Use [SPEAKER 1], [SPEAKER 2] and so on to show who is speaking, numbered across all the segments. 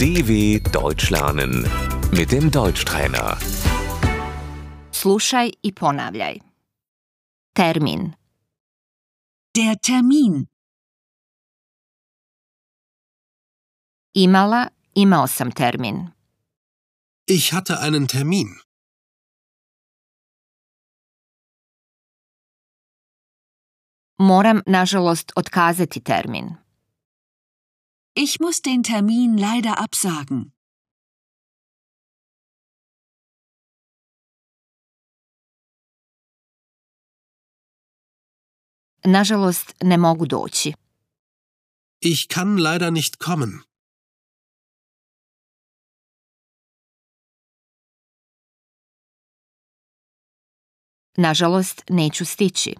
[SPEAKER 1] DW Deutsch lernen mit dem Deutschtrainer.
[SPEAKER 2] Slušaj i ponavljaj. Termin.
[SPEAKER 3] Der Termin.
[SPEAKER 2] Imala, imao sam termin.
[SPEAKER 4] Ich hatte einen Termin.
[SPEAKER 2] Moram, nažalost, otkazati termin.
[SPEAKER 3] Ich muss den Termin leider absagen.
[SPEAKER 2] Nažalost, ne mogu doći.
[SPEAKER 4] Ich kann leider nicht kommen.
[SPEAKER 2] Nažalost, neću stići.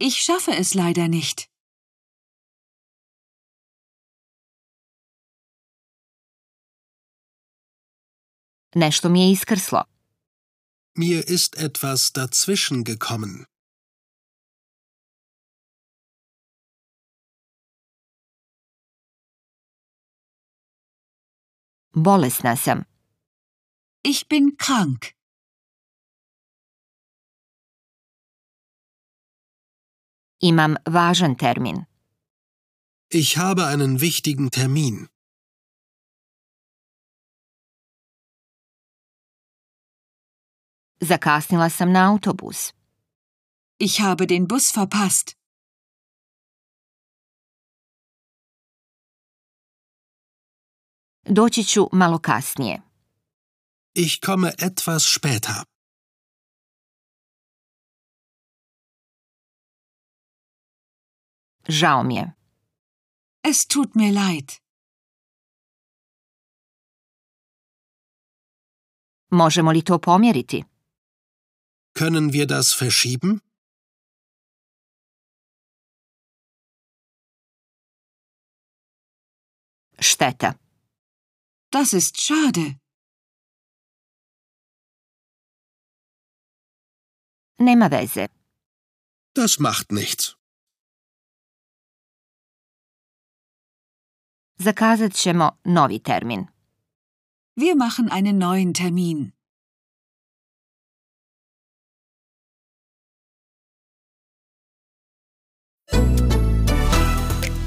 [SPEAKER 3] Ich schaffe es leider nicht.
[SPEAKER 2] Nešto mi je iskrslo.
[SPEAKER 4] Mir ist etwas dazwischen gekommen.
[SPEAKER 2] Bolesna sam.
[SPEAKER 3] Ich bin krank.
[SPEAKER 2] Imam važan termin.
[SPEAKER 4] Ich habe einen wichtigen Termin.
[SPEAKER 2] Zakasnila sam na autobus.
[SPEAKER 3] Ich habe den Bus verpasst.
[SPEAKER 2] Doći ću malo kasnije.
[SPEAKER 4] Ich komme etwas später.
[SPEAKER 2] Žao mi je.
[SPEAKER 3] Es tut mir leid.
[SPEAKER 2] Možemo li to pomjeriti?
[SPEAKER 4] Können wir das verschieben?
[SPEAKER 2] Šteta.
[SPEAKER 3] Das ist schade.
[SPEAKER 2] Nema veze.
[SPEAKER 4] Das macht nichts.
[SPEAKER 2] Zakazat ćemo novi termin.
[SPEAKER 3] Wir machen einen neuen Termin.